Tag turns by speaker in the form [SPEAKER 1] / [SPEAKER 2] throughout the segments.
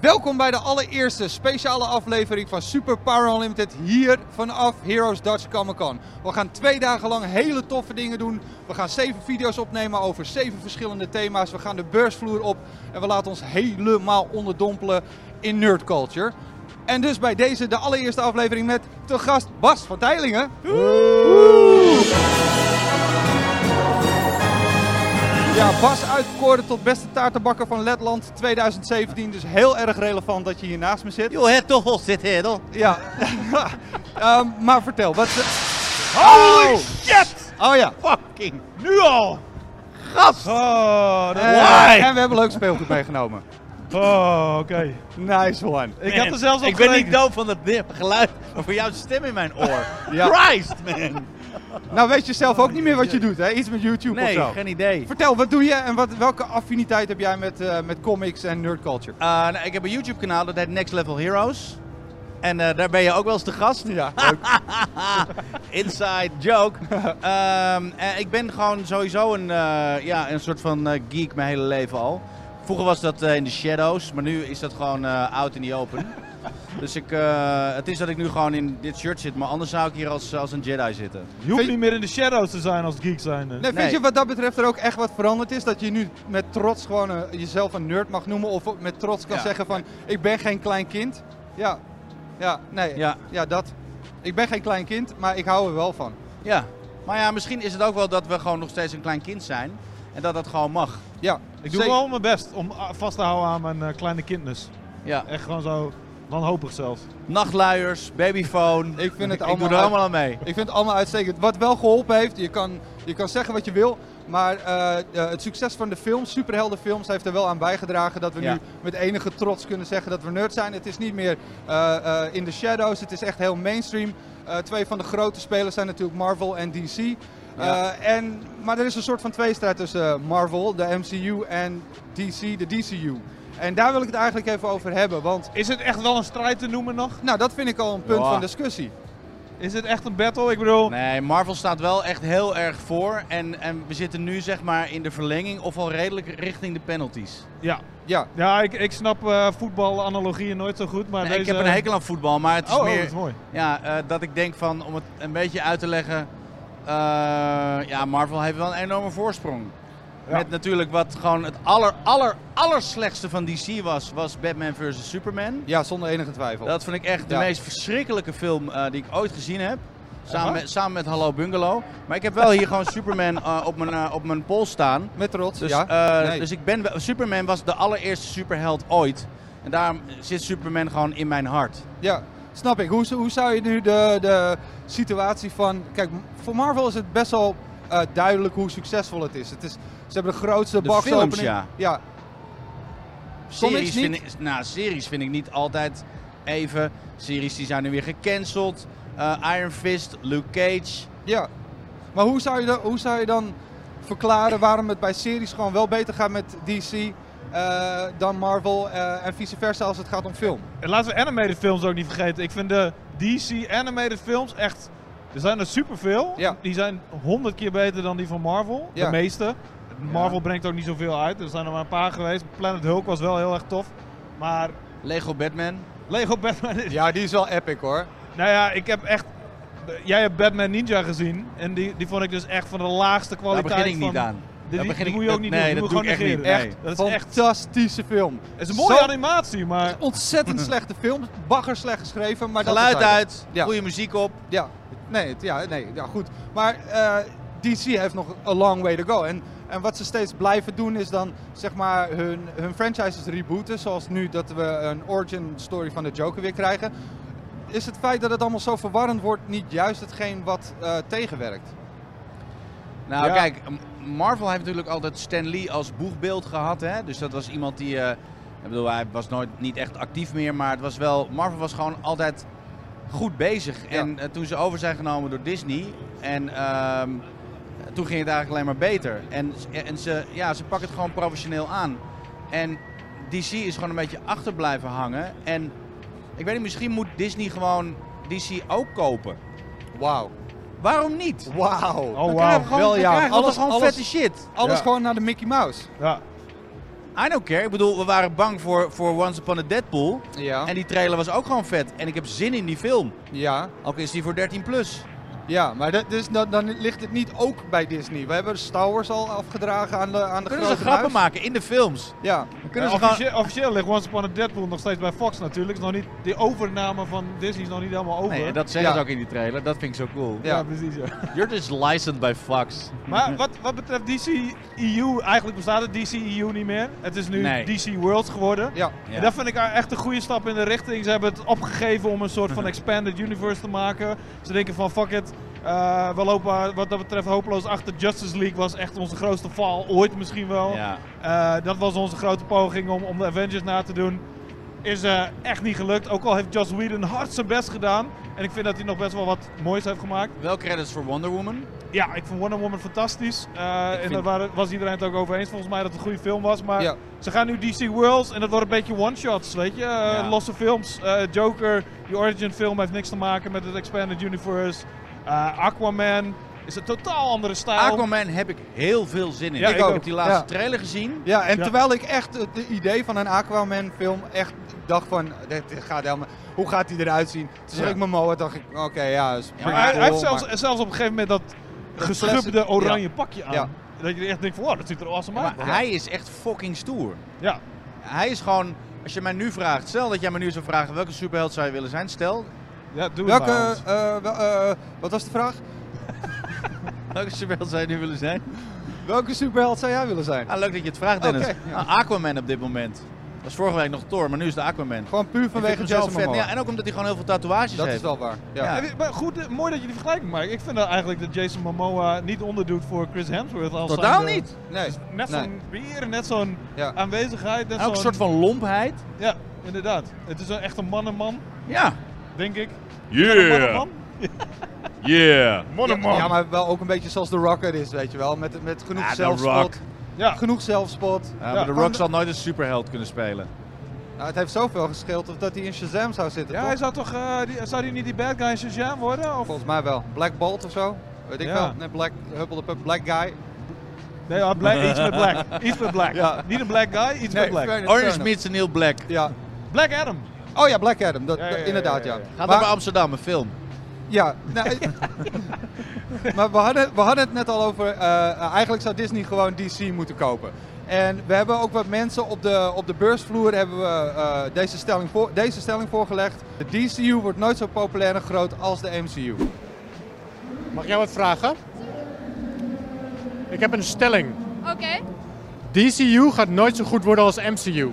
[SPEAKER 1] Welkom bij de allereerste speciale aflevering van Super Power Unlimited hier vanaf Heroes Dutch Comic Con. We gaan twee dagen lang hele toffe dingen doen. We gaan zeven video's opnemen over zeven verschillende thema's. We gaan de beursvloer op en we laten ons helemaal onderdompelen in nerd culture. En dus bij deze de allereerste aflevering met te gast Bas van Teilingen. Ja, Bas uitverkoren tot beste taartenbakker van Letland 2017. Dus heel erg relevant dat je hier naast me zit.
[SPEAKER 2] Jo, het toch wel zit hier dan.
[SPEAKER 1] Ja. Ehm, maar vertel, wat...
[SPEAKER 2] Holy shit!
[SPEAKER 1] Oh ja.
[SPEAKER 2] Fucking nu al! Gast!
[SPEAKER 3] Oh, dat...
[SPEAKER 1] Eh,
[SPEAKER 2] Why?
[SPEAKER 1] en we hebben leuk speelgoed meegenomen.
[SPEAKER 3] oh oké.
[SPEAKER 1] Nice one.
[SPEAKER 3] Ik had er zelfs op
[SPEAKER 2] Ik ben niet
[SPEAKER 3] gerekend.
[SPEAKER 2] doof van dat dip- geluid, maar voor jouw stem in mijn oor.
[SPEAKER 1] Ja.
[SPEAKER 2] Christ, man!
[SPEAKER 1] Nou weet je zelf ook niet meer wat je doet, hè? Iets met YouTube
[SPEAKER 2] Nee,
[SPEAKER 1] of zo.
[SPEAKER 2] geen idee.
[SPEAKER 1] Vertel, wat doe je en wat, welke affiniteit heb jij met, eh, met comics en nerd culture?
[SPEAKER 2] Eh, nou, ik heb een YouTube kanaal, dat heet Next Level Heroes. En eh, daar ben je ook wel eens te gast.
[SPEAKER 1] Ja,
[SPEAKER 2] Inside joke. Ehm, eh, ik ben gewoon sowieso een, eh, ja, een soort van eh, geek mijn hele leven al. Vroeger was dat eh, in de shadows, maar nu is dat gewoon eh out in the open. dus ik, eh, het is dat ik nu gewoon in dit shirt zit, maar anders zou ik hier als, als een Jedi zitten.
[SPEAKER 3] Je hoeft
[SPEAKER 1] Vind-
[SPEAKER 3] niet meer in de shadows te zijn als geek zijnde.
[SPEAKER 1] Nee, vind
[SPEAKER 2] Nee.
[SPEAKER 1] je wat dat betreft er ook echt wat veranderd is? Dat je nu met trots gewoon eh, jezelf een nerd mag noemen of met trots kan
[SPEAKER 2] Ja.
[SPEAKER 1] zeggen van ik ben geen klein kind. Ja, ja, nee, ja.
[SPEAKER 2] Ja.
[SPEAKER 1] dat. Ik ben geen klein kind, maar ik hou er wel van.
[SPEAKER 2] Ja. Maar ja, misschien is het ook wel dat we gewoon nog steeds een klein kind zijn. En dat dat gewoon mag.
[SPEAKER 1] Ja,
[SPEAKER 3] Ik doe
[SPEAKER 1] zeker.
[SPEAKER 3] wel mijn best om ah, vast te houden aan mijn eh, kleine kindness.
[SPEAKER 2] Ja.
[SPEAKER 3] Echt gewoon zo wanhopig zelfs.
[SPEAKER 2] Nachtluiers, babyfoon.
[SPEAKER 1] Ik vind het
[SPEAKER 2] Ik
[SPEAKER 1] allemaal
[SPEAKER 2] doe er allemaal aan mee.
[SPEAKER 1] Ik vind het allemaal uitstekend. Wat wel geholpen heeft, je kan, je kan zeggen wat je wil, maar eh, eh, het succes van de films, superheldenfilms, heeft er wel aan bijgedragen dat we
[SPEAKER 2] Ja.
[SPEAKER 1] nu met enige trots kunnen zeggen dat we nerd zijn. Het is niet meer eh, eh, in the shadows, het is echt heel mainstream. Eh, twee van de grote spelers zijn natuurlijk Marvel en DC.
[SPEAKER 2] Ja.
[SPEAKER 1] Eh, en, maar er is een soort van tweestrijd tussen eh, Marvel, de MCU, en DC, de DCU. En daar wil ik het eigenlijk even over hebben, want
[SPEAKER 3] Is het echt wel een strijd te noemen nog?
[SPEAKER 1] nou, dat vind ik al een punt
[SPEAKER 2] Ja.
[SPEAKER 1] van discussie.
[SPEAKER 3] Is het echt een battle? Ik bedoel,
[SPEAKER 2] Nee, Marvel staat wel echt heel erg voor. En, en we zitten nu zeg maar in de verlenging of al redelijk richting de penalties.
[SPEAKER 3] ja.
[SPEAKER 1] Ja,
[SPEAKER 3] Ja, ik, ik snap eh voetbalanalogieën nooit zo goed, maar
[SPEAKER 2] Nee,
[SPEAKER 3] deze...
[SPEAKER 2] Ik heb een hekel aan voetbal, maar het is
[SPEAKER 3] Oh, oh,
[SPEAKER 2] meer
[SPEAKER 3] dat is mooi.
[SPEAKER 2] ja, eh, dat ik denk van, om het een beetje uit te leggen. eh, ja, Marvel heeft wel een enorme voorsprong.
[SPEAKER 3] Ja.
[SPEAKER 2] Met natuurlijk wat gewoon het aller, aller, aller slechtste van DC was, was Batman vs. Superman.
[SPEAKER 1] ja zonder enige twijfel.
[SPEAKER 2] Dat vond ik echt de
[SPEAKER 1] Ja.
[SPEAKER 2] meest verschrikkelijke film eh, die ik ooit gezien heb. Samen
[SPEAKER 3] Echt
[SPEAKER 2] met, samen met Hallo Bungalow. Maar ik heb wel hier gewoon Superman eh, op, mijn, eh, op mijn pols staan.
[SPEAKER 1] Met trots,
[SPEAKER 2] Dus,
[SPEAKER 1] ja.
[SPEAKER 2] eh,
[SPEAKER 1] Nee.
[SPEAKER 2] dus ik ben, wel- Superman was de allereerste superheld ooit. En daarom zit Superman gewoon in mijn hart.
[SPEAKER 1] Ja, snap ik. Hoe, hoe zou je nu de, de situatie van... Kijk, voor Marvel is het best wel eh, duidelijk hoe succesvol het is. het is. Ze hebben de grootste
[SPEAKER 2] De
[SPEAKER 1] box
[SPEAKER 2] films,
[SPEAKER 1] opening.
[SPEAKER 2] ja.
[SPEAKER 1] Comics
[SPEAKER 2] Series
[SPEAKER 1] niet?
[SPEAKER 2] vind ik, nou, series vind ik niet altijd even. Series die zijn nu weer gecanceld. Eh, Iron Fist, Luke Cage.
[SPEAKER 1] ja. Maar hoe zou, je dan, hoe zou je dan verklaren waarom het bij series gewoon wel beter gaat met DC eh, dan Marvel eh, en vice versa als het gaat om film?
[SPEAKER 3] En laten we animated films ook niet vergeten. Ik vind de DC animated films echt... Er zijn er superveel.
[SPEAKER 1] Ja.
[SPEAKER 3] Die zijn honderd keer beter dan die van Marvel.
[SPEAKER 1] Ja.
[SPEAKER 3] De meeste. Marvel brengt ook niet zoveel uit. Er zijn er maar een paar geweest. Planet Hulk was wel heel erg tof. Maar
[SPEAKER 2] Lego Batman.
[SPEAKER 3] Lego Batman is...
[SPEAKER 1] Ja, die is wel epic hoor.
[SPEAKER 3] Nou ja, ik heb echt... Jij hebt Batman Ninja gezien. En die, die vond ik dus echt van de laagste
[SPEAKER 2] Daar
[SPEAKER 3] kwaliteit
[SPEAKER 2] begin ik
[SPEAKER 3] van...
[SPEAKER 2] niet aan.
[SPEAKER 3] Die,
[SPEAKER 2] Daar
[SPEAKER 3] die
[SPEAKER 2] begin ik-
[SPEAKER 3] moet je ook
[SPEAKER 2] dat-
[SPEAKER 3] niet
[SPEAKER 2] nee,
[SPEAKER 3] doen. Die
[SPEAKER 2] dat doe
[SPEAKER 3] moet je
[SPEAKER 2] ik
[SPEAKER 3] gewoon
[SPEAKER 2] echt niet.
[SPEAKER 3] negeren.
[SPEAKER 2] Nee.
[SPEAKER 3] Dat is echt...
[SPEAKER 1] Fantastische film.
[SPEAKER 3] Het is een mooie
[SPEAKER 1] Zo-
[SPEAKER 3] animatie, maar...
[SPEAKER 1] Ontzettend slechte film. Bagger slecht geschreven. Maar dat
[SPEAKER 2] Geluid
[SPEAKER 1] terzijde.
[SPEAKER 2] uit,
[SPEAKER 1] Ja.
[SPEAKER 2] goede muziek op.
[SPEAKER 1] Ja, nee, het- ja, nee, ja goed. Maar eh, DC heeft nog a long way to go. En, en wat ze steeds blijven doen is dan zeg maar hun, hun franchises rebooten. Zoals nu dat we een origin story van de Joker weer krijgen. Is het feit dat het allemaal zo verwarrend wordt niet juist hetgeen wat eh, tegenwerkt?
[SPEAKER 2] Nou,
[SPEAKER 3] Ja.
[SPEAKER 2] kijk, M- Marvel heeft natuurlijk altijd Stan Lee als boegbeeld gehad. Hè? Dus dat was iemand die. eh, ik bedoel, hij was nooit niet echt actief meer, maar het was wel. Marvel was gewoon altijd goed bezig.
[SPEAKER 1] Ja.
[SPEAKER 2] En eh, toen ze over zijn genomen door Disney. En ehm, toen ging het eigenlijk alleen maar beter. En, en ze, ja, ze pakken het gewoon professioneel aan. En DC is gewoon een beetje achter blijven hangen. En ik weet niet, misschien moet Disney gewoon DC ook kopen.
[SPEAKER 1] Wauw.
[SPEAKER 2] Waarom niet?
[SPEAKER 1] Wauw.
[SPEAKER 3] Oh,
[SPEAKER 2] Dan krijgen we
[SPEAKER 3] wauw.
[SPEAKER 2] gewoon,
[SPEAKER 1] Wel
[SPEAKER 2] dan
[SPEAKER 1] ja,
[SPEAKER 2] krijgen we
[SPEAKER 1] alles-
[SPEAKER 2] toch gewoon
[SPEAKER 1] alles-
[SPEAKER 2] vette shit.
[SPEAKER 1] Alles
[SPEAKER 3] Ja.
[SPEAKER 1] gewoon naar de Mickey Mouse.
[SPEAKER 3] Ja.
[SPEAKER 2] I don't care. Ik bedoel, we waren bang voor, voor Once Upon a Deadpool.
[SPEAKER 1] Ja,
[SPEAKER 2] En die trailer was ook gewoon vet. En ik heb zin in die film.
[SPEAKER 1] ja,
[SPEAKER 2] Ook is die voor 13 plus.
[SPEAKER 1] ja. maar dat, dus, dan, dan ligt het niet ook bij Disney. We hebben Star Wars al afgedragen aan de, aan de
[SPEAKER 2] Kunnen ze
[SPEAKER 1] grote
[SPEAKER 2] grappen
[SPEAKER 1] buis.
[SPEAKER 2] maken in de films?
[SPEAKER 1] Ja,
[SPEAKER 2] Kunnen
[SPEAKER 3] Ja,
[SPEAKER 2] ze gewoon...
[SPEAKER 3] officie- officieel ligt Once Upon a Deadpool nog steeds bij Fox natuurlijk. Is nog niet, die overname van Disney is nog niet helemaal over.
[SPEAKER 2] Nee, dat zeggen ze
[SPEAKER 1] Ja.
[SPEAKER 2] ook in die trailer. Dat vind ik zo cool.
[SPEAKER 1] Ja.
[SPEAKER 3] ja, precies. Ja.
[SPEAKER 4] You're just licensed by Fox.
[SPEAKER 3] Maar wat, wat betreft DCEU, eigenlijk bestaat het DCEU niet meer. Het is nu
[SPEAKER 2] Nee.
[SPEAKER 3] DC World geworden.
[SPEAKER 1] ja.
[SPEAKER 2] Ja.
[SPEAKER 3] En dat vind ik echt een goede stap in de richting. Ze hebben het opgegeven om een soort
[SPEAKER 2] Mhm.
[SPEAKER 3] van expanded universe te maken. Ze denken van fuck it, eh, we lopen wat dat betreft hopeloos achter. Justice League was echt onze grootste faal ooit misschien wel.
[SPEAKER 2] Ja.
[SPEAKER 3] Eh, dat was onze grote poging om, om de Avengers na te doen. Is eh, echt niet gelukt. Ook al heeft Joss Whedon hard zijn best gedaan. En ik vind dat hij nog best wel wat moois heeft gemaakt.
[SPEAKER 2] Wel credits voor Wonder Woman.
[SPEAKER 3] Ja, ik vond Wonder Woman fantastisch. Eh, en
[SPEAKER 2] vind-
[SPEAKER 3] daar waren- was iedereen het ook over eens volgens mij dat het een goede film was. Maar
[SPEAKER 1] Ja.
[SPEAKER 3] ze gaan nu DC Worlds en dat wordt een beetje one-shots, weet je. Eh,
[SPEAKER 2] Ja.
[SPEAKER 3] Losse films. Eh, Joker, die origin film heeft niks te maken met het Expanded Universe. Eh, Aquaman is een totaal andere stijl.
[SPEAKER 2] Aquaman heb ik heel veel zin in.
[SPEAKER 3] Ja,
[SPEAKER 2] ik
[SPEAKER 3] ik ook.
[SPEAKER 2] heb die laatste
[SPEAKER 1] Ja.
[SPEAKER 2] trailer gezien.
[SPEAKER 1] Ja, en
[SPEAKER 3] Ja.
[SPEAKER 1] terwijl ik echt het idee van een Aquaman film echt dacht van, dit gaat helemaal, hoe gaat hij eruit zien? Toen zag
[SPEAKER 2] Ja.
[SPEAKER 1] ik mijn moe en dacht ik, oké, ja, is
[SPEAKER 2] Ja,
[SPEAKER 3] Maar
[SPEAKER 1] pretty
[SPEAKER 3] hij, hij heeft
[SPEAKER 1] cool,
[SPEAKER 3] zelfs,
[SPEAKER 1] maar-
[SPEAKER 3] zelfs op een gegeven moment dat geschubde oranje pakje aan.
[SPEAKER 1] Ja.
[SPEAKER 3] Dat je echt denkt van, wow, dat ziet er awesome
[SPEAKER 2] Maar
[SPEAKER 3] uit.
[SPEAKER 2] hij is echt fucking stoer.
[SPEAKER 3] Ja.
[SPEAKER 2] Hij is gewoon... Als je mij nu vraagt, stel dat jij me nu zou vragen welke superheld zou je willen zijn, stel
[SPEAKER 3] ja, doe het maar,
[SPEAKER 1] Welke,
[SPEAKER 3] Hans.
[SPEAKER 1] eh, wel- eh, wat was de vraag?
[SPEAKER 2] welke superheld zou je nu willen zijn.
[SPEAKER 1] Welke superheld zou jij willen zijn?
[SPEAKER 2] Ah, leuk dat je het vraagt, Dennis.
[SPEAKER 1] Oké, ja.
[SPEAKER 2] Ah, Aquaman op dit moment. Dat was vorige week nog Thor, maar nu is de Aquaman.
[SPEAKER 1] Gewoon puur vanwege
[SPEAKER 2] Ik vind hem zo
[SPEAKER 1] Jason Momoa.
[SPEAKER 2] Ja, en ook omdat hij gewoon heel veel tatoeages
[SPEAKER 1] dat is
[SPEAKER 2] heeft.
[SPEAKER 1] wel waar. Ja.
[SPEAKER 2] Ja.
[SPEAKER 3] Ja, weet- maar goed, eh, mooi dat je die vergelijking maakt. Ik vind dat eigenlijk dat Jason Momoa niet onderdoet voor Chris Hemsworth. Als
[SPEAKER 2] Totaal
[SPEAKER 3] zijnde-
[SPEAKER 2] niet.
[SPEAKER 1] Nee,
[SPEAKER 3] Net
[SPEAKER 1] nee.
[SPEAKER 3] zo'n bier, net zo'n
[SPEAKER 1] Ja.
[SPEAKER 3] aanwezigheid. Net
[SPEAKER 2] En ook een
[SPEAKER 3] zo'n-
[SPEAKER 2] soort van lompheid.
[SPEAKER 3] Ja, inderdaad. Het is een- echt een mannenman,
[SPEAKER 2] Ja.
[SPEAKER 3] denk ik.
[SPEAKER 4] Yeah.
[SPEAKER 3] Mannenman?
[SPEAKER 4] Yeah.
[SPEAKER 1] Ja, ja, maar wel ook een beetje zoals The Rock er is, weet je wel. Met, met genoeg
[SPEAKER 2] Ah, The Rock.
[SPEAKER 1] zelfspot.
[SPEAKER 3] Ja.
[SPEAKER 1] Genoeg zelfspot.
[SPEAKER 2] Ja, maar de
[SPEAKER 1] gewoon
[SPEAKER 2] Rock
[SPEAKER 1] de-
[SPEAKER 2] zal nooit een superheld kunnen spelen.
[SPEAKER 1] Nou, het heeft zoveel gescheeld of dat hij in Shazam zou zitten,
[SPEAKER 3] ja,
[SPEAKER 1] toch?
[SPEAKER 3] hij zou toch, eh, die- zou die niet die bad guy in Shazam worden? Of?
[SPEAKER 1] Volgens mij wel. Black Bolt of zo. Weet ik
[SPEAKER 3] Ja.
[SPEAKER 1] wel. Nee, Black, huppelepup, Black Guy.
[SPEAKER 3] Nee, ja, black, iets met black. Iets met black.
[SPEAKER 1] Ja.
[SPEAKER 3] Niet een black guy, iets
[SPEAKER 1] Nee,
[SPEAKER 3] met black.
[SPEAKER 1] fair- fair
[SPEAKER 2] Orange
[SPEAKER 1] enough.
[SPEAKER 2] meets Neil Black.
[SPEAKER 1] Ja.
[SPEAKER 3] Black Adam.
[SPEAKER 1] Oh ja, Black Adam. Dat,
[SPEAKER 3] Ja, ja,
[SPEAKER 1] dat-
[SPEAKER 3] ja,
[SPEAKER 1] inderdaad,
[SPEAKER 3] ja,
[SPEAKER 1] ja.
[SPEAKER 3] ja, ja.
[SPEAKER 2] Gaat
[SPEAKER 1] maar,
[SPEAKER 2] over Amsterdam, een film.
[SPEAKER 1] Ja. nou, maar we hadden, we hadden het net al over... eh, eigenlijk zou Disney gewoon DC moeten kopen. En we hebben ook wat mensen op de, op de beursvloer hebben we, eh, deze, stelling voor, deze stelling voorgelegd. De DCU wordt nooit zo populair en groot als de MCU.
[SPEAKER 5] Mag ik jou wat vragen? Ik heb een stelling.
[SPEAKER 6] Oké,
[SPEAKER 5] DCU gaat nooit zo goed worden als MCU.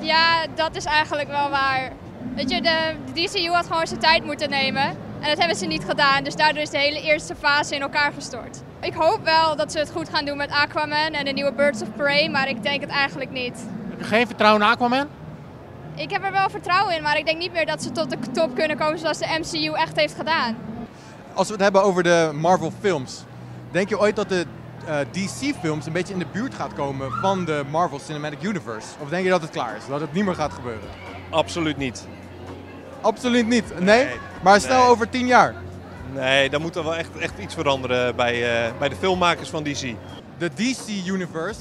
[SPEAKER 6] ja, dat is eigenlijk wel waar. Weet je, de DCU had gewoon zijn tijd moeten nemen. En dat hebben ze niet gedaan, dus daardoor is de hele eerste fase in elkaar gestort. Ik hoop wel dat ze het goed gaan doen met Aquaman en de nieuwe Birds of Prey, maar ik denk het eigenlijk niet.
[SPEAKER 5] Heb je geen vertrouwen in Aquaman?
[SPEAKER 6] Ik heb er wel vertrouwen in, maar ik denk niet meer dat ze tot de top kunnen komen zoals de MCU echt heeft gedaan.
[SPEAKER 7] Als we het hebben over de Marvel films, denk je ooit dat de DC films een beetje in de buurt gaat komen van de Marvel Cinematic Universe? Of denk je dat het klaar is, dat het niet meer gaat gebeuren?
[SPEAKER 8] Absoluut niet.
[SPEAKER 7] Absoluut niet. Nee?
[SPEAKER 8] Nee.
[SPEAKER 7] Maar stel
[SPEAKER 8] Nee.
[SPEAKER 7] over tien jaar.
[SPEAKER 8] Nee, daar moet er wel echt, echt iets veranderen bij, eh, bij de filmmakers van DC.
[SPEAKER 7] De DC Universe,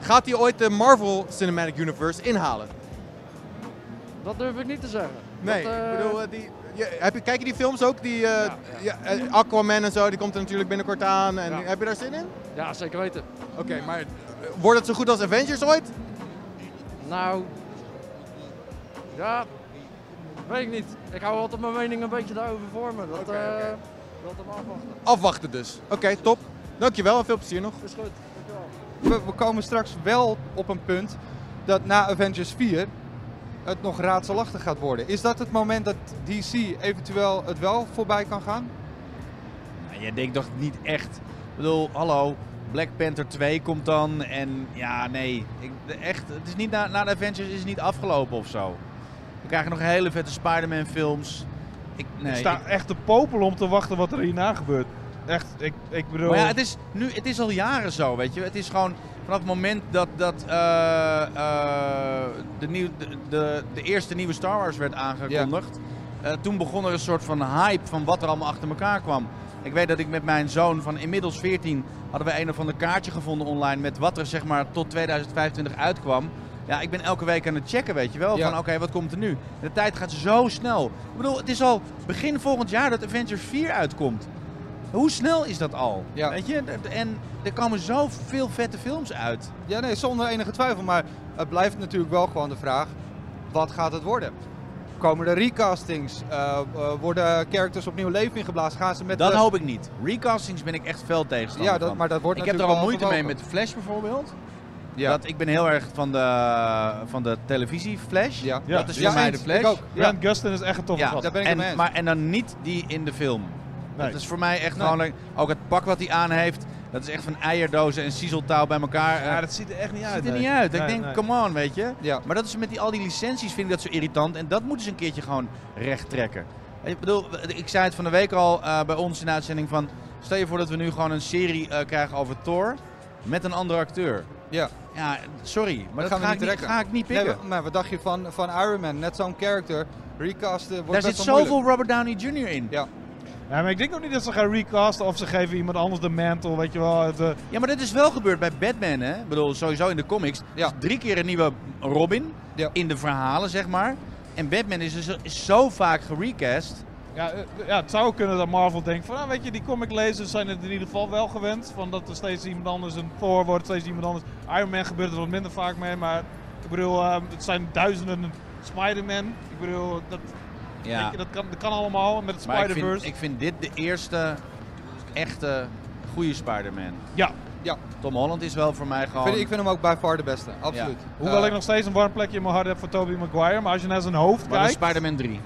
[SPEAKER 7] gaat die ooit de Marvel Cinematic Universe inhalen?
[SPEAKER 9] Dat durf ik niet te zeggen.
[SPEAKER 7] Nee,
[SPEAKER 9] Dat, eh,
[SPEAKER 7] ik bedoel, eh, die, je, heb je, kijk je die films ook? Die, eh, ja, eh, Aquaman en zo, die komt er natuurlijk binnenkort aan. En,
[SPEAKER 9] Ja.
[SPEAKER 7] Heb je daar zin in?
[SPEAKER 9] Ja, zeker weten.
[SPEAKER 7] Oké, maar eh, wordt het zo goed als Avengers ooit?
[SPEAKER 9] Nou, ja, weet ik niet. Ik hou altijd mijn mening een beetje daarover voor me. Dat, eh dat hem afwachten.
[SPEAKER 7] Afwachten dus. Oké, top. Dankjewel en veel plezier nog.
[SPEAKER 9] Is goed, dankjewel.
[SPEAKER 1] We, we komen straks wel op een punt dat na Avengers 4 het nog raadselachtig gaat worden. Is dat het moment dat DC eventueel het wel voorbij kan gaan?
[SPEAKER 2] Nou, je denkt toch niet echt. Ik bedoel, hallo, Black Panther 2 komt dan. En ja, nee. Ik, echt, het is niet na, na de Avengers is het niet afgelopen of zo. We krijgen nog hele vette Spider-Man films. Ik, nee,
[SPEAKER 3] ik sta
[SPEAKER 2] ik-
[SPEAKER 3] echt te popelen om te wachten wat er hierna gebeurt. Echt, ik, ik bedoel...
[SPEAKER 2] maar ja, het is, nu, het is al jaren zo, weet je. Het is gewoon vanaf het moment dat, dat eh, eh, de, nieuw, de, de, de eerste nieuwe Star Wars werd aangekondigd. eh, toen begon er een soort van hype van wat er allemaal achter elkaar kwam. Ik weet dat ik met mijn zoon van inmiddels 14 hadden we een of ander kaartje gevonden online met wat er zeg maar tot 2025 uitkwam. Ja, ik ben elke week aan het checken, weet je wel.
[SPEAKER 1] Ja.
[SPEAKER 2] Van oké, wat komt er nu? De tijd gaat zo snel. Ik bedoel, het is al begin volgend jaar dat Avengers 4 uitkomt. Hoe snel is dat al?
[SPEAKER 1] Ja.
[SPEAKER 2] Weet je? En er komen zoveel vette films uit.
[SPEAKER 1] Ja, nee, zonder enige twijfel. Maar het blijft natuurlijk wel gewoon de vraag: wat gaat het worden? Komen er recastings? Eh, eh, worden characters opnieuw leven ingeblazen? Gaan ze met
[SPEAKER 2] Dat
[SPEAKER 1] de-
[SPEAKER 2] hoop ik niet. Recastings ben ik echt fel tegenstander
[SPEAKER 1] Ja, dat,
[SPEAKER 2] van.
[SPEAKER 1] maar dat wordt
[SPEAKER 2] ik heb er
[SPEAKER 1] natuurlijk
[SPEAKER 2] al
[SPEAKER 1] wel
[SPEAKER 2] moeite mee
[SPEAKER 1] overwogen.
[SPEAKER 2] met de Flash bijvoorbeeld.
[SPEAKER 1] Ja.
[SPEAKER 2] Dat, ik ben heel erg van de, van de televisie Flash.
[SPEAKER 1] Ja.
[SPEAKER 3] Ja.
[SPEAKER 2] Dat is
[SPEAKER 1] Ja,
[SPEAKER 2] voor mij de
[SPEAKER 1] eens.
[SPEAKER 2] Flash.
[SPEAKER 1] Ik ook.
[SPEAKER 3] Grant Gustin is echt een toffe
[SPEAKER 2] Ja,
[SPEAKER 3] gast.
[SPEAKER 1] daar ben ik het mee
[SPEAKER 2] en,
[SPEAKER 1] eens.
[SPEAKER 2] maar, en dan niet die in de film.
[SPEAKER 3] Nee.
[SPEAKER 2] Dat is voor mij echt
[SPEAKER 1] Nee.
[SPEAKER 2] gewoon... een- Ook het pak wat hij aan heeft. Dat is echt van eierdozen en siezeltouw bij elkaar. Eh,
[SPEAKER 3] Ja, dat ziet er echt niet
[SPEAKER 2] ziet
[SPEAKER 3] uit.
[SPEAKER 2] er
[SPEAKER 3] nee.
[SPEAKER 2] niet uit. ik
[SPEAKER 3] Nee,
[SPEAKER 2] denk,
[SPEAKER 3] nee.
[SPEAKER 2] come on, weet je.
[SPEAKER 1] Ja.
[SPEAKER 2] Maar dat is met die, al die licenties vind ik dat zo irritant. En dat moeten ze een keertje gewoon recht trekken. Ik bedoel, ik zei het van de week al eh, bij ons in de uitzending van... Stel je voor dat we nu gewoon een serie eh, krijgen over Thor met een andere acteur.
[SPEAKER 1] Ja.
[SPEAKER 2] Ja, sorry. Maar
[SPEAKER 1] Dat
[SPEAKER 2] dat,
[SPEAKER 1] gaan we
[SPEAKER 2] ga,
[SPEAKER 1] niet
[SPEAKER 2] ik niet,
[SPEAKER 1] trekken.
[SPEAKER 2] ga ik niet
[SPEAKER 1] Nee,
[SPEAKER 2] pikken.
[SPEAKER 1] maar- maar wat dacht je van, van Iron Man? Net zo'n character. Recasten wordt
[SPEAKER 2] Daar
[SPEAKER 1] best
[SPEAKER 2] zit
[SPEAKER 1] wel
[SPEAKER 2] zoveel
[SPEAKER 1] moeilijk.
[SPEAKER 2] Robert Downey Jr. in.
[SPEAKER 1] Ja.
[SPEAKER 3] Ja, maar ik denk ook niet dat ze gaan recasten of ze geven iemand anders de mantle, weet je wel. Het, eh,
[SPEAKER 2] Ja, maar dat is wel gebeurd bij Batman, hè? Ik bedoel, sowieso in de comics.
[SPEAKER 1] Ja.
[SPEAKER 2] Dus drie keer een nieuwe Robin
[SPEAKER 1] Ja.
[SPEAKER 2] in de verhalen, zeg maar. En Batman is dus is zo vaak gerecast.
[SPEAKER 3] ja, eh, ja, het zou kunnen dat Marvel denkt van, ah, weet je, die comiclezers zijn het in ieder geval wel gewend. Van dat er steeds iemand anders een Thor wordt, steeds iemand anders. Iron Man gebeurt er wat minder vaak mee, maar ik bedoel, eh, het zijn duizenden Spider-Man. Ik bedoel, dat,
[SPEAKER 2] Ja.
[SPEAKER 3] dat, kan, dat kan allemaal met het
[SPEAKER 2] Maar ik vind,
[SPEAKER 3] Spider-Verse.
[SPEAKER 2] ik vind dit de eerste echte goede Spider-Man.
[SPEAKER 3] Ja,
[SPEAKER 2] Tom Holland is wel voor mij
[SPEAKER 1] Ik
[SPEAKER 2] gewoon...
[SPEAKER 1] vind, ik vind hem ook by far de beste. Absoluut.
[SPEAKER 3] hoewel
[SPEAKER 1] Eh,
[SPEAKER 3] ik nog steeds een warm plekje in mijn hart heb voor Tobey Maguire, maar als je naar zijn hoofd
[SPEAKER 2] maar dat is
[SPEAKER 3] kijkt...
[SPEAKER 2] Spider-Man 3.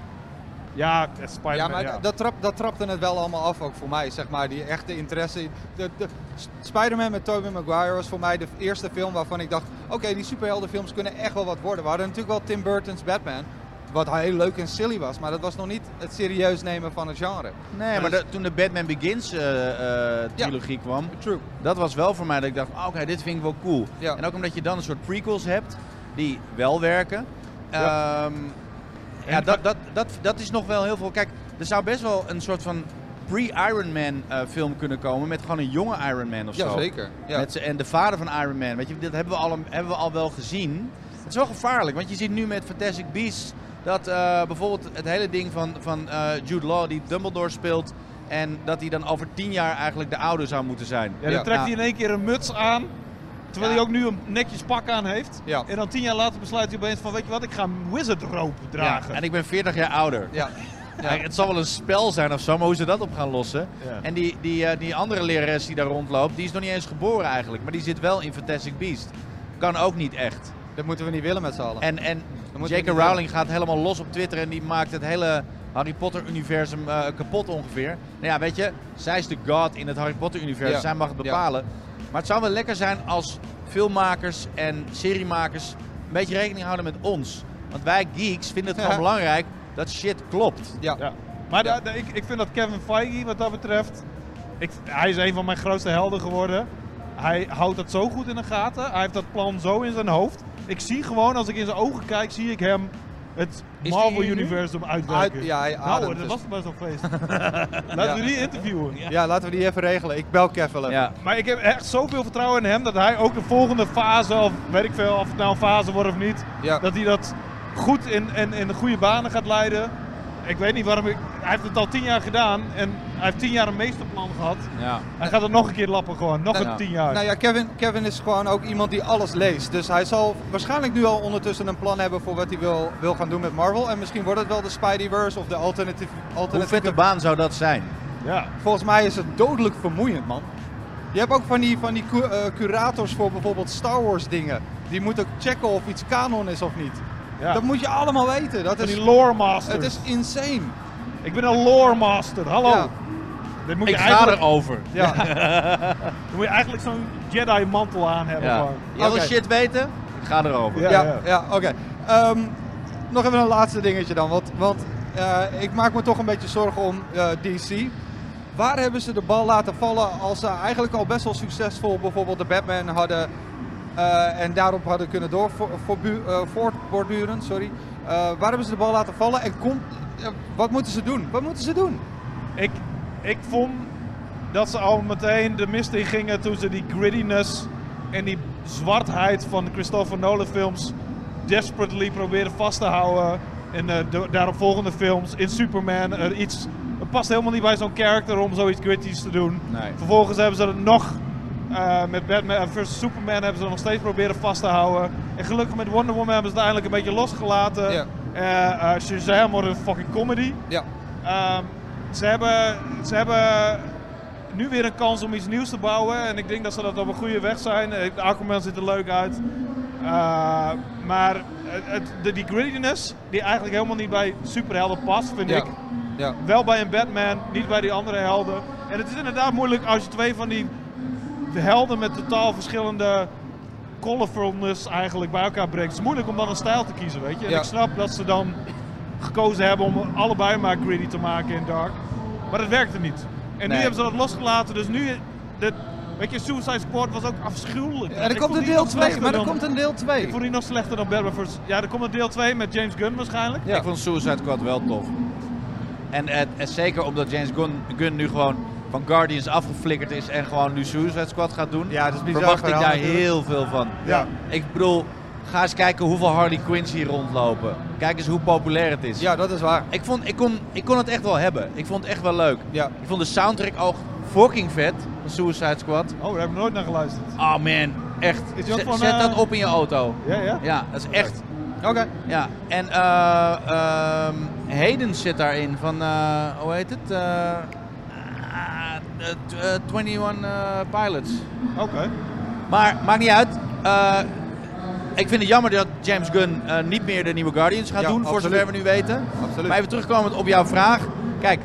[SPEAKER 3] Ja, eh, Spider-Man,
[SPEAKER 1] Ja, maar
[SPEAKER 3] ja.
[SPEAKER 1] Dat, trap, dat trapte het wel allemaal af ook voor mij, zeg maar, die echte interesse. De, de, S- Spider-Man met Tobey Maguire was voor mij de eerste film waarvan ik dacht, oké, die superheldenfilms kunnen echt wel wat worden. We hadden natuurlijk wel Tim Burton's Batman, wat heel leuk en silly was, maar dat was nog niet het serieus nemen van het genre.
[SPEAKER 2] Nee, maar
[SPEAKER 1] dat-
[SPEAKER 2] de- dus- toen de Batman Begins eh, eh, trilogie kwam,
[SPEAKER 1] True.
[SPEAKER 2] dat was wel voor mij dat ik dacht, ah, oké, dit vind ik wel cool.
[SPEAKER 1] Ja.
[SPEAKER 2] En ook omdat je dan een soort prequels hebt die wel werken. Ehm,
[SPEAKER 3] Ja.
[SPEAKER 2] Ja,
[SPEAKER 3] En-
[SPEAKER 2] dat, dat, dat, dat is nog wel heel veel. Kijk, er zou best wel een soort van pre-Iron Man eh, film kunnen komen met gewoon een jonge Iron Man of zo.
[SPEAKER 1] Jazeker. Ja.
[SPEAKER 2] Met z'n- en de vader van Iron Man, weet je, dat hebben we, al, hebben we al wel gezien. Het is wel gevaarlijk, want je ziet nu met Fantastic Beasts dat eh, bijvoorbeeld het hele ding van, van eh, Jude Law die Dumbledore speelt en dat hij dan over tien jaar eigenlijk de oude zou moeten zijn.
[SPEAKER 3] Ja, dan
[SPEAKER 1] Ja.
[SPEAKER 3] trekt
[SPEAKER 2] Ja.
[SPEAKER 3] hij in één keer een muts aan. Terwijl
[SPEAKER 2] Ja.
[SPEAKER 3] hij ook nu een netjes pak aan heeft.
[SPEAKER 1] Ja.
[SPEAKER 3] En dan tien jaar later besluit hij opeens van, weet je wat, ik ga een wizard rope dragen.
[SPEAKER 2] Ja, en ik ben 40 jaar ouder.
[SPEAKER 1] Ja.
[SPEAKER 2] Ja, Het zal wel een spel zijn of zo, maar hoe ze dat op gaan lossen.
[SPEAKER 3] Ja.
[SPEAKER 2] En die, die, eh, die andere lerares die daar rondloopt, die is nog niet eens geboren eigenlijk, maar die zit wel in Fantastic Beast. Kan ook niet echt.
[SPEAKER 1] Dat moeten we niet willen met z'n allen.
[SPEAKER 2] En, en
[SPEAKER 1] moet je
[SPEAKER 2] J.K.
[SPEAKER 1] niet
[SPEAKER 2] Rowling gaat helemaal los op Twitter en die maakt het hele Harry Potter-universum eh, kapot ongeveer. Nou ja, weet je, zij is de god in het Harry Potter-universum,
[SPEAKER 1] Ja.
[SPEAKER 2] zij mag het
[SPEAKER 1] Ja.
[SPEAKER 2] bepalen. Maar het zou wel lekker zijn als filmmakers en seriemakers een beetje rekening houden met ons. Want wij geeks vinden het gewoon
[SPEAKER 1] Ja.
[SPEAKER 2] belangrijk dat shit klopt.
[SPEAKER 1] ja.
[SPEAKER 3] Ja. Maar
[SPEAKER 1] Ja.
[SPEAKER 3] da- da- ik, ik vind dat Kevin Feige, wat dat betreft, ik, hij is een van mijn grootste helden geworden. Hij houdt dat zo goed in de gaten. Hij heeft dat plan zo in zijn hoofd. Ik zie gewoon, als ik in zijn ogen kijk, zie ik hem het
[SPEAKER 2] die
[SPEAKER 3] Marvel
[SPEAKER 2] hier nu?
[SPEAKER 3] Universum uitwerken.
[SPEAKER 1] Uit, ja, hij
[SPEAKER 3] nou,
[SPEAKER 1] ademt
[SPEAKER 3] hoor, dat
[SPEAKER 1] dus.
[SPEAKER 3] was best wel feest. Laten we die interviewen.
[SPEAKER 1] ja, laten we die even regelen. Ik bel Kevin. even.
[SPEAKER 2] Ja.
[SPEAKER 3] Maar ik heb echt zoveel vertrouwen in hem dat hij ook de volgende fase, of weet ik veel, of het nou een fase wordt of niet,
[SPEAKER 1] Ja.
[SPEAKER 3] dat hij dat goed in, in, in de goede banen gaat leiden. Ik weet niet waarom ik. Hij heeft het al tien jaar gedaan en hij heeft tien jaar een meesterplan gehad.
[SPEAKER 2] Ja.
[SPEAKER 3] Hij gaat het nog een keer lappen gewoon, nog
[SPEAKER 1] Nou,
[SPEAKER 3] een tien jaar.
[SPEAKER 1] Nou ja, Kevin, Kevin is gewoon ook iemand die alles leest. Dus hij zal waarschijnlijk nu al ondertussen een plan hebben voor wat hij wil, wil gaan doen met Marvel. En misschien wordt het wel de Spideyverse of de alternatieve...
[SPEAKER 2] Hoe
[SPEAKER 1] alternatieve...
[SPEAKER 2] vette baan zou dat zijn?
[SPEAKER 3] ja.
[SPEAKER 1] Volgens mij is het dodelijk vermoeiend, man. Je hebt ook van die, van die cu- eh, curators voor bijvoorbeeld Star Wars dingen. Die moeten ook checken of iets kanon is of niet.
[SPEAKER 3] ja.
[SPEAKER 1] Dat moet je allemaal weten. Dat
[SPEAKER 3] Van
[SPEAKER 1] is,
[SPEAKER 3] die lore master.
[SPEAKER 1] het is insane.
[SPEAKER 3] Ik ben een lore master, hallo.
[SPEAKER 1] Ja.
[SPEAKER 3] Dit moet je
[SPEAKER 2] Ik ga
[SPEAKER 3] eigenlijk,
[SPEAKER 2] erover.
[SPEAKER 1] Ja.
[SPEAKER 3] dan moet je eigenlijk zo'n Jedi mantel aan hebben.
[SPEAKER 2] Ja.
[SPEAKER 3] gewoon.
[SPEAKER 2] Jij wil
[SPEAKER 1] Oké.
[SPEAKER 2] shit weten? Ik ga erover.
[SPEAKER 3] Ja,
[SPEAKER 1] Ja,
[SPEAKER 3] ja.
[SPEAKER 1] ja. oké. Ehm, nog even een laatste dingetje dan. Want, want eh, ik maak me toch een beetje zorgen om eh, DC. Waar hebben ze de bal laten vallen als ze eigenlijk al best wel succesvol bijvoorbeeld de Batman hadden eh, en daarop Eh, hadden kunnen doorvoortborduren? Sorry. Eh, waar hebben ze de bal laten vallen en komt eh, wat moeten ze doen? Wat moeten ze doen?
[SPEAKER 3] Ik, ik vond dat ze al meteen de mist in gingen toen ze die grittiness en die zwartheid van Christopher Nolan films desperately probeerden vast te houden. En eh de daaropvolgende films in Superman er iets... Het past helemaal niet bij zo'n character om zoiets gritties te doen.
[SPEAKER 2] Nee.
[SPEAKER 3] Vervolgens hebben ze het nog eh, met Batman eh, versus Superman hebben ze het nog steeds proberen vast te houden. En gelukkig met Wonder Woman hebben ze het eindelijk een beetje losgelaten.
[SPEAKER 1] Ja.
[SPEAKER 3] Eh, eh, Shazam wordt een fucking comedy.
[SPEAKER 1] Ja,
[SPEAKER 3] Ehm, ze, hebben, ze hebben nu weer een kans om iets nieuws te bouwen. En ik denk dat ze dat op een goede weg zijn. Eh, De Aquaman ziet er leuk uit. Eh, maar het, het- de, die grittiness, die eigenlijk helemaal niet bij superhelden past, vind
[SPEAKER 1] ja.
[SPEAKER 3] ik.
[SPEAKER 1] ja.
[SPEAKER 3] Wel bij een Batman, niet bij die andere helden. En het is inderdaad moeilijk als je twee van die helden met totaal verschillende colorfulness eigenlijk bij elkaar brengt. Het is moeilijk om dan een stijl te kiezen, weet je. En
[SPEAKER 1] Ja.
[SPEAKER 3] ik snap dat ze dan gekozen hebben om allebei maar greedy te maken in Dark. Maar dat werkte niet. En nu
[SPEAKER 2] Nee.
[SPEAKER 3] hebben ze dat losgelaten, dus nu... De, weet je, Suicide Squad was ook afschuwelijk.
[SPEAKER 1] En er
[SPEAKER 3] Ik
[SPEAKER 1] komt
[SPEAKER 3] vond
[SPEAKER 1] een
[SPEAKER 3] die
[SPEAKER 1] deel
[SPEAKER 3] nog
[SPEAKER 1] 2,
[SPEAKER 3] slechter
[SPEAKER 1] maar er
[SPEAKER 3] dan-
[SPEAKER 1] komt een deel 2.
[SPEAKER 3] Ik vond die nog slechter dan Batman vs. Ja, er komt een deel 2 met James Gunn waarschijnlijk.
[SPEAKER 1] Ja.
[SPEAKER 2] Ik vond Suicide Squad wel tof. En, eh, eh, zeker omdat James Gunn, Gunn nu gewoon van Guardians afgeflikkerd is en gewoon nu Suicide Squad gaat doen.
[SPEAKER 7] Ja, dat is bizar
[SPEAKER 2] Verwacht ik
[SPEAKER 7] verhaal
[SPEAKER 2] daar
[SPEAKER 7] natuurlijk.
[SPEAKER 2] heel veel van.
[SPEAKER 3] Ja.
[SPEAKER 2] Ik bedoel, ga eens kijken hoeveel Harley Quinns hier rondlopen. Kijk eens hoe populair het is.
[SPEAKER 1] Ja, dat is waar.
[SPEAKER 2] Ik, vond, ik, kon, ik kon het echt wel hebben. Ik vond het echt wel leuk.
[SPEAKER 1] Ja.
[SPEAKER 2] Ik vond de soundtrack ook fucking vet van Suicide Squad.
[SPEAKER 3] Oh, daar heb ik nooit naar geluisterd.
[SPEAKER 2] Oh man, echt.
[SPEAKER 3] Is die ook
[SPEAKER 2] Zet,
[SPEAKER 3] van,
[SPEAKER 2] zet
[SPEAKER 3] eh,
[SPEAKER 2] dat op in je auto.
[SPEAKER 3] Ja, ja.
[SPEAKER 2] Ja, dat is echt.
[SPEAKER 1] Oké.
[SPEAKER 2] Ja, en eh ehm Hayden zit daarin van, eh, hoe heet het? Eh, ah, eh, t- eh, 21 eh, Pilots.
[SPEAKER 3] Oké.
[SPEAKER 2] Maar maakt niet uit. Eh, ik vind het jammer dat James Gunn eh, niet meer de nieuwe Guardians gaat
[SPEAKER 1] Ja,
[SPEAKER 2] doen, voor
[SPEAKER 1] absoluut.
[SPEAKER 2] zover we nu weten.
[SPEAKER 1] Absoluut.
[SPEAKER 2] Maar even terugkomend op jouw vraag. Kijk,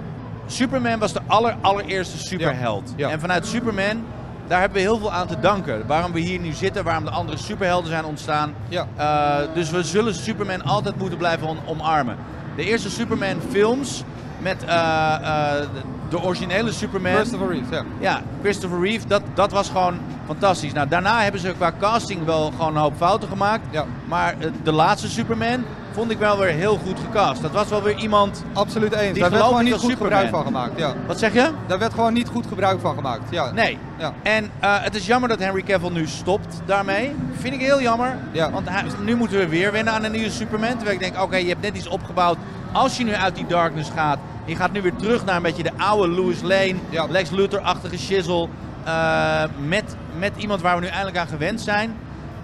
[SPEAKER 2] Superman was de aller, allereerste superheld.
[SPEAKER 1] Ja, ja.
[SPEAKER 2] En vanuit Superman, daar hebben we heel veel aan te danken. Waarom we hier nu zitten, waarom de andere superhelden zijn ontstaan.
[SPEAKER 1] Ja.
[SPEAKER 2] Eh, dus we zullen Superman altijd moeten blijven on- omarmen. De eerste Superman films met eh, eh, de- de originele Superman.
[SPEAKER 1] Christopher Reeve, ja.
[SPEAKER 2] Ja, Christopher Reeve, dat, dat was gewoon fantastisch. Nou, daarna hebben ze qua casting wel gewoon een hoop fouten gemaakt.
[SPEAKER 1] Ja.
[SPEAKER 2] Maar eh, de laatste Superman vond ik wel weer heel goed gecast. Dat was wel weer iemand...
[SPEAKER 1] Absoluut eens.
[SPEAKER 2] Die
[SPEAKER 1] Daar werd
[SPEAKER 2] gelooft
[SPEAKER 1] gewoon
[SPEAKER 2] niet
[SPEAKER 1] niet goed
[SPEAKER 2] als
[SPEAKER 1] gebruik van
[SPEAKER 2] Superman.
[SPEAKER 1] gemaakt. Ja.
[SPEAKER 2] Wat zeg je?
[SPEAKER 1] Daar werd gewoon niet goed gebruik van gemaakt. Ja.
[SPEAKER 2] Nee.
[SPEAKER 1] Ja.
[SPEAKER 2] En eh, het is jammer dat Henry Cavill nu stopt daarmee. Vind ik heel jammer.
[SPEAKER 1] Ja.
[SPEAKER 2] Want hij- nu moeten we weer wennen aan een nieuwe Superman. Terwijl ik denk, oké, je hebt net iets opgebouwd. Als je nu uit die darkness gaat, je gaat nu weer terug naar een beetje de oude Louis Lane,
[SPEAKER 1] Ja.
[SPEAKER 2] Lex Luthor-achtige shizzle. eh, met, met iemand waar we nu eindelijk aan gewend zijn.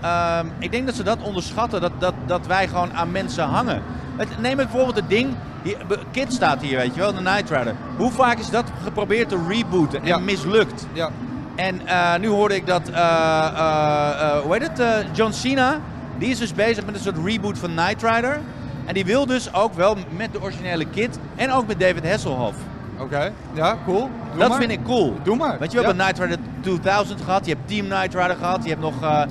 [SPEAKER 2] Ehm, ik denk dat ze dat onderschatten, dat, dat, dat wij gewoon aan mensen hangen. Het, neem bijvoorbeeld het ding, hier, be- Kid staat hier, weet je wel, de Night Rider. Hoe vaak is dat geprobeerd te rebooten en
[SPEAKER 1] Ja.
[SPEAKER 2] mislukt?
[SPEAKER 1] Ja.
[SPEAKER 2] En eh, nu hoorde ik dat, eh, eh, eh, hoe heet het, eh, John Cena, die is dus bezig met een soort reboot van Knight Rider. En die wil dus ook wel met de originele Kid en ook met David Hasselhoff.
[SPEAKER 1] Oké. Ja, cool. Doe
[SPEAKER 2] dat
[SPEAKER 1] maar.
[SPEAKER 2] vind ik cool.
[SPEAKER 1] Doe maar.
[SPEAKER 2] Weet je, we hebben
[SPEAKER 1] Ja.
[SPEAKER 2] Knight Rider 2000 gehad, je hebt Team Knight Rider gehad, je hebt nog eh,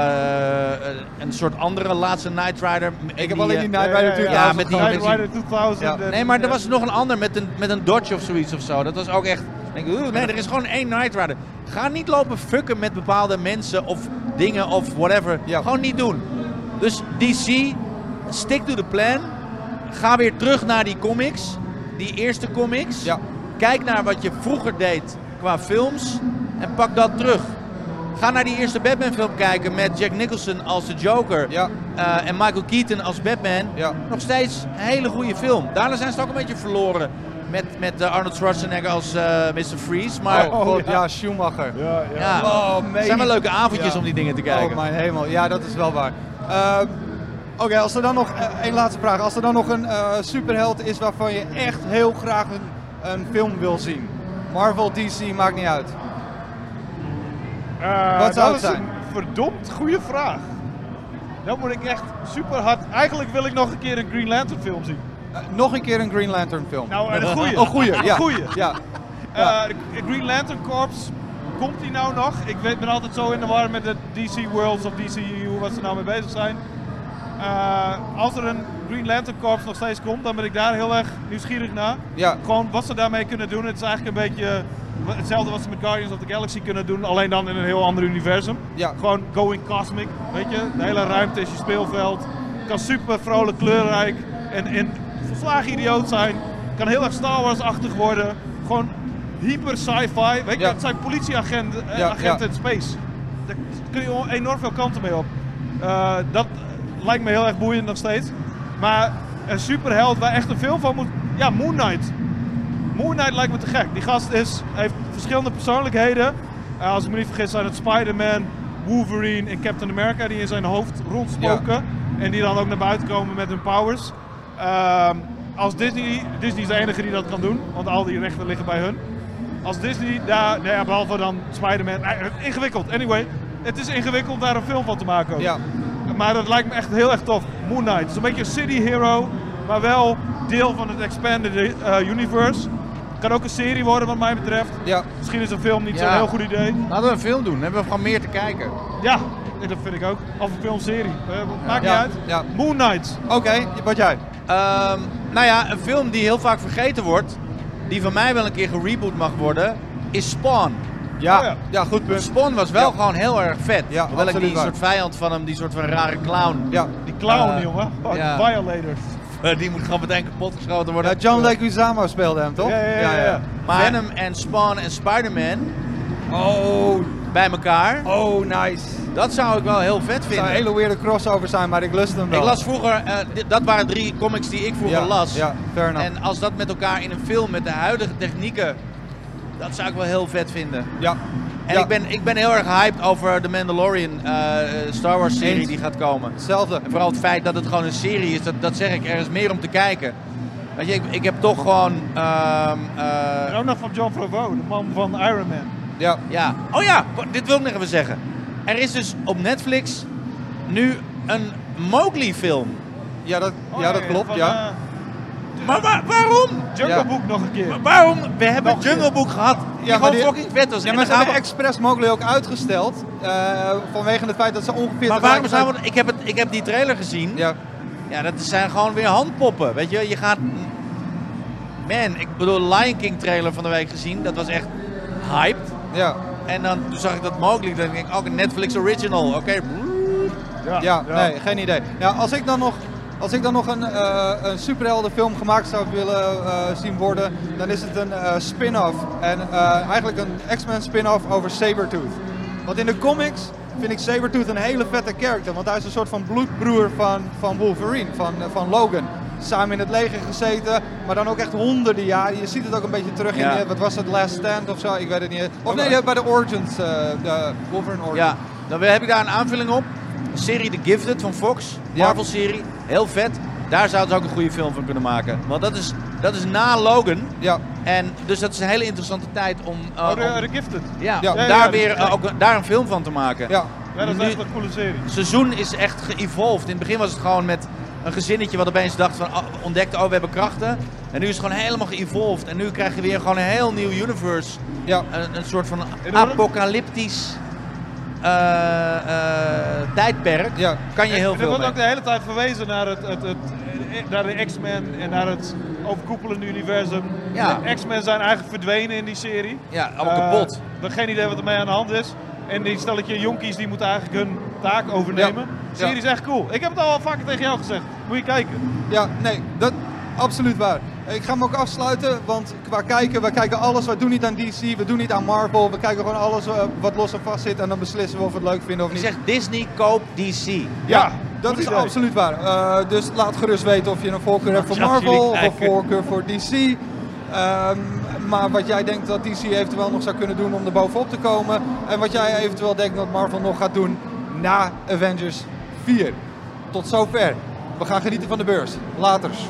[SPEAKER 2] eh, een soort andere laatste Knight Rider. eh,
[SPEAKER 1] Ik heb alleen die Night
[SPEAKER 3] Ja, ja,
[SPEAKER 1] Rider
[SPEAKER 3] ja.
[SPEAKER 1] natuurlijk.
[SPEAKER 2] Ja,
[SPEAKER 1] laatst
[SPEAKER 2] met die-
[SPEAKER 1] gehad.
[SPEAKER 3] Knight Rider 2000.
[SPEAKER 1] Ja.
[SPEAKER 3] en- eh,
[SPEAKER 2] Nee, maar er was nog een ander met een, met een Dodge of zoiets of zo. Dat was ook echt. Denk, ik, "Oeh, nee, er is gewoon één Knight Rider. Ga niet lopen fucken met bepaalde mensen of dingen of whatever.
[SPEAKER 1] Ja.
[SPEAKER 2] Gewoon niet doen. Dus DC, stick to the plan. Ga weer terug naar die comics. Die eerste comics.
[SPEAKER 1] Ja.
[SPEAKER 2] Kijk naar wat je vroeger deed qua films. En pak dat terug. Ga naar die eerste Batman film kijken met Jack Nicholson als de Joker.
[SPEAKER 1] Ja.
[SPEAKER 2] Eh, en Michael Keaton als Batman.
[SPEAKER 1] Ja.
[SPEAKER 2] Nog steeds een hele goede film. Daarna zijn ze het ook een beetje verloren. Met, met eh, Arnold Schwarzenegger als eh, Mr. Freeze. Maar
[SPEAKER 1] Oh, God, ja. Schumacher.
[SPEAKER 3] Ja, ja.
[SPEAKER 2] ja,
[SPEAKER 1] Oh,
[SPEAKER 2] het zijn wel
[SPEAKER 1] meen-
[SPEAKER 2] leuke avondjes
[SPEAKER 1] Ja.
[SPEAKER 2] om die dingen te
[SPEAKER 1] Oh
[SPEAKER 2] kijken.
[SPEAKER 1] mijn hemel, ja dat is wel waar. Ehm, Oké, als er dan nog, eh, één laatste vraag. Als er dan nog een eh, superheld is waarvan je echt heel graag een, een film wil zien. Marvel, DC, maakt niet uit.
[SPEAKER 3] Eh,
[SPEAKER 1] Wat zou
[SPEAKER 3] dat
[SPEAKER 1] het
[SPEAKER 3] is
[SPEAKER 1] zijn?
[SPEAKER 3] een verdomd goede vraag. Dan moet ik echt super hard. Eigenlijk wil ik nog een keer een Green Lantern film zien.
[SPEAKER 1] Eh, nog een keer een Green Lantern film.
[SPEAKER 3] Nou, en een goeie.
[SPEAKER 1] oh goeie, ja.
[SPEAKER 3] Een goeie.
[SPEAKER 1] Ja.
[SPEAKER 3] Eh, de Green Lantern Corps, komt die nou nog? Ik weet, ben altijd zo in de war met de DC Worlds of DCU, wat ze nou mee bezig zijn. Eh, als er een Green Lantern Corps nog steeds komt, dan ben ik daar heel erg nieuwsgierig naar.
[SPEAKER 1] Ja.
[SPEAKER 3] Gewoon wat ze daarmee kunnen doen. Het is eigenlijk een beetje eh, hetzelfde wat ze met Guardians of the Galaxy kunnen doen, alleen dan in een heel ander universum.
[SPEAKER 1] Ja.
[SPEAKER 3] Gewoon going cosmic, weet je. De hele ruimte is je speelveld. Kan super vrolijk, kleurrijk en, en volslagen idioot zijn. Kan heel erg Star Wars-achtig worden. Gewoon hyper sci-fi. Weet je,
[SPEAKER 1] Ja.
[SPEAKER 3] dat zijn politieagenten eh,
[SPEAKER 1] Ja,
[SPEAKER 3] agenten
[SPEAKER 1] ja.
[SPEAKER 3] in space. Daar kun je enorm veel kanten mee op. Eh, dat lijkt me heel erg boeiend nog steeds. Maar een superheld waar echt een film van moet... Ja, Moon Knight. Moon Knight lijkt me te gek. Die gast is, heeft verschillende persoonlijkheden. Eh, als ik me niet vergis zijn het Spider-Man, Wolverine en Captain America die in zijn hoofd rondspoken. En die dan ook naar buiten komen met hun powers. Ehm, als Disney, Disney is de enige die dat kan doen, want al die rechten liggen bij hun. Als Disney daar, nou ja, behalve dan Spider-Man, eh, ingewikkeld. Anyway, het is ingewikkeld daar een film van te maken. ook.
[SPEAKER 1] Ja.
[SPEAKER 3] Maar dat lijkt me echt heel erg tof. Moon Knight. Het is een beetje een city hero, maar wel deel van het expanded eh, universe. Kan ook een serie worden wat mij betreft.
[SPEAKER 1] Ja,
[SPEAKER 3] Misschien is een film niet
[SPEAKER 2] Ja.
[SPEAKER 3] zo'n heel goed idee.
[SPEAKER 2] Laten we een film doen. Dan hebben we gewoon meer te kijken.
[SPEAKER 3] Ja, dat vind ik ook. Of een filmserie. Eh, maakt
[SPEAKER 1] Ja.
[SPEAKER 3] niet uit.
[SPEAKER 1] Ja.
[SPEAKER 3] Moon Knight.
[SPEAKER 1] oké, wat jij?
[SPEAKER 2] Ehm, nou ja, een film die heel vaak vergeten wordt, die van mij wel een keer gereboot mag worden, is Spawn.
[SPEAKER 1] Ja,
[SPEAKER 3] Oh
[SPEAKER 1] ja.
[SPEAKER 3] ja.
[SPEAKER 1] goed punt.
[SPEAKER 2] Spawn was wel
[SPEAKER 1] Ja.
[SPEAKER 2] gewoon heel erg vet.
[SPEAKER 1] Ja,
[SPEAKER 2] Hoewel ik
[SPEAKER 1] absoluut
[SPEAKER 2] die
[SPEAKER 1] waar.
[SPEAKER 2] soort vijand van hem, die soort van rare clown,
[SPEAKER 1] Ja.
[SPEAKER 3] Die clown,
[SPEAKER 2] Eh,
[SPEAKER 3] jongen. Fuck,
[SPEAKER 2] ja.
[SPEAKER 3] Violators.
[SPEAKER 2] Eh, die moet gewoon meteen kapotgeschoten worden.
[SPEAKER 1] Ja, John Leguizamo speelde hem, toch?
[SPEAKER 3] Ja, ja, ja, ja.
[SPEAKER 2] Maar Venom en Spawn en Spider-Man
[SPEAKER 1] Oh,
[SPEAKER 2] bij elkaar,
[SPEAKER 1] oh, nice.
[SPEAKER 2] dat zou ik wel heel vet
[SPEAKER 1] Het zou
[SPEAKER 2] vinden.
[SPEAKER 1] een hele weirde crossover zijn, maar ik lust hem wel.
[SPEAKER 2] Ik las vroeger, eh, di- dat waren drie comics die ik vroeger
[SPEAKER 1] ja,
[SPEAKER 2] las.
[SPEAKER 1] Ja, fair enough.
[SPEAKER 2] En als dat met elkaar in een film met de huidige technieken, dat zou ik wel heel vet vinden.
[SPEAKER 1] ja.
[SPEAKER 2] En
[SPEAKER 1] Ja.
[SPEAKER 2] ik, ben, ik ben heel erg hyped over de Mandalorian eh, eh, Star Wars serie
[SPEAKER 1] Eens.
[SPEAKER 2] die gaat komen.
[SPEAKER 1] Hetzelfde.
[SPEAKER 2] En vooral het feit dat het gewoon een serie is, dat, dat zeg ik, er is meer om te kijken. Weet je, ik, ik heb toch gewoon... ehm, eh,
[SPEAKER 3] En ook nog van John Favreau, de man van Iron Man.
[SPEAKER 1] Ja,
[SPEAKER 2] ja. Oh ja, wa- dit wil ik nog even zeggen. Er is dus op Netflix nu een Mowgli film.
[SPEAKER 1] ja, dat,
[SPEAKER 3] Oh,
[SPEAKER 1] ja, dat
[SPEAKER 3] nee,
[SPEAKER 1] klopt,
[SPEAKER 3] van,
[SPEAKER 2] eh,
[SPEAKER 1] ja.
[SPEAKER 2] Maar wa- waarom?
[SPEAKER 3] eh, Jungle
[SPEAKER 1] Ja.
[SPEAKER 3] Book nog een keer.
[SPEAKER 2] Waarom? We hebben
[SPEAKER 3] Nog
[SPEAKER 2] Jungle Book gehad.
[SPEAKER 1] maar
[SPEAKER 2] die gewoon
[SPEAKER 1] die-
[SPEAKER 2] fucking vet was.
[SPEAKER 1] Ja,
[SPEAKER 2] En
[SPEAKER 1] maar
[SPEAKER 2] dan
[SPEAKER 1] ze hebben
[SPEAKER 2] gaan we-
[SPEAKER 1] expres Mowgli ook uitgesteld. eh, vanwege het feit dat ze ongeveer
[SPEAKER 2] maar waarom
[SPEAKER 1] tegelijkertijd-
[SPEAKER 2] zouden we... Ik heb, het, ik heb die trailer gezien.
[SPEAKER 1] Ja,
[SPEAKER 2] Ja, dat zijn gewoon weer handpoppen. Weet je, je gaat. Man, ik bedoel, Lion King trailer van de week gezien. Dat was echt hyped.
[SPEAKER 1] ja,
[SPEAKER 2] En dan toen zag ik dat mogelijk. Dan denk ik, ook een Netflix original. Oké.
[SPEAKER 3] Ja,
[SPEAKER 1] ja, nee, geen idee. Ja, als ik dan nog, als ik dan nog een, eh een superheldenfilm gemaakt zou willen eh, zien worden, dan is het een eh, spin-off. En eh, eigenlijk een X-Men spin-off over Sabretooth. Want in de comics vind ik Sabretooth een hele vette character. Want hij is een soort van bloedbroer van, van Wolverine, van, eh, van Logan. Samen in het leger gezeten, maar dan ook echt honderden jaren. Je ziet het ook een beetje terug
[SPEAKER 2] Ja.
[SPEAKER 1] in, eh, wat was het, Last Stand of zo? Ik weet het niet. Of nee, bij de Origins, eh, de Wolverine Origins.
[SPEAKER 2] Ja, dan heb ik daar een aanvulling op. Een serie The Gifted van Fox.
[SPEAKER 1] Ja.
[SPEAKER 2] Marvel-serie. Heel vet. Daar zouden ze ook een goede film van kunnen maken. Want dat is, dat is na Logan.
[SPEAKER 1] Ja,
[SPEAKER 2] En dus dat is een hele interessante tijd om, eh,
[SPEAKER 3] Oh,
[SPEAKER 2] om-
[SPEAKER 3] de, de Gifted.
[SPEAKER 2] ja,
[SPEAKER 1] Ja.
[SPEAKER 2] om
[SPEAKER 3] Ja,
[SPEAKER 2] daar
[SPEAKER 3] ja,
[SPEAKER 2] weer
[SPEAKER 3] dat is
[SPEAKER 2] eh, ook, een- daar een film van te maken.
[SPEAKER 1] ja,
[SPEAKER 3] Ja, dat is
[SPEAKER 2] Nu-
[SPEAKER 3] echt een coole serie.
[SPEAKER 2] Het seizoen is echt geëvolved. In het begin was het gewoon met een gezinnetje wat opeens dacht van, oh, ontdekte, oh we hebben krachten. En nu is het gewoon helemaal geëvolved. En nu krijg je weer gewoon een heel nieuw universe.
[SPEAKER 1] ja.
[SPEAKER 2] Een, een soort van
[SPEAKER 3] En hoe-
[SPEAKER 2] apocalyptisch eh, eh, tijdperk.
[SPEAKER 1] Ja.
[SPEAKER 2] Kan je heel
[SPEAKER 3] En er
[SPEAKER 2] veel
[SPEAKER 3] wordt
[SPEAKER 2] mee.
[SPEAKER 3] ook de hele tijd verwezen naar, het, het, het, eh, naar de X-Men en naar het overkoepelende universum.
[SPEAKER 2] Ja.
[SPEAKER 3] En X-Men zijn eigenlijk verdwenen in die serie. Eh,
[SPEAKER 2] Ja, allemaal kapot.
[SPEAKER 3] We hebben geen idee wat ermee aan de hand is. En die stelletje jonkies die moeten eigenlijk hun taak overnemen.
[SPEAKER 1] Ja.
[SPEAKER 3] Serie is echt cool. Ik heb het al wel vaker tegen jou gezegd. Moet je kijken.
[SPEAKER 1] Ja, nee, dat absoluut waar. Ik ga hem ook afsluiten, want qua kijken, we kijken alles. We doen niet aan DC, we doen niet aan Marvel. We kijken gewoon alles eh, wat los en vast zit en dan beslissen we of we het leuk vinden of
[SPEAKER 2] Ik
[SPEAKER 1] niet.
[SPEAKER 2] zeg Disney, koop DC.
[SPEAKER 1] ja, dat
[SPEAKER 3] goed
[SPEAKER 1] is
[SPEAKER 3] idee.
[SPEAKER 1] absoluut waar. Eh, dus laat gerust weten of je een voorkeur hebt voor
[SPEAKER 2] Ja,
[SPEAKER 1] Marvel
[SPEAKER 2] jullie
[SPEAKER 1] of een
[SPEAKER 2] kijken.
[SPEAKER 1] voorkeur voor DC. Ehm, maar wat jij denkt dat DC eventueel nog zou kunnen doen om er bovenop te komen. En wat jij eventueel denkt dat Marvel nog gaat doen na Avengers 4. Tot zover. We gaan genieten van de beurs. Laters.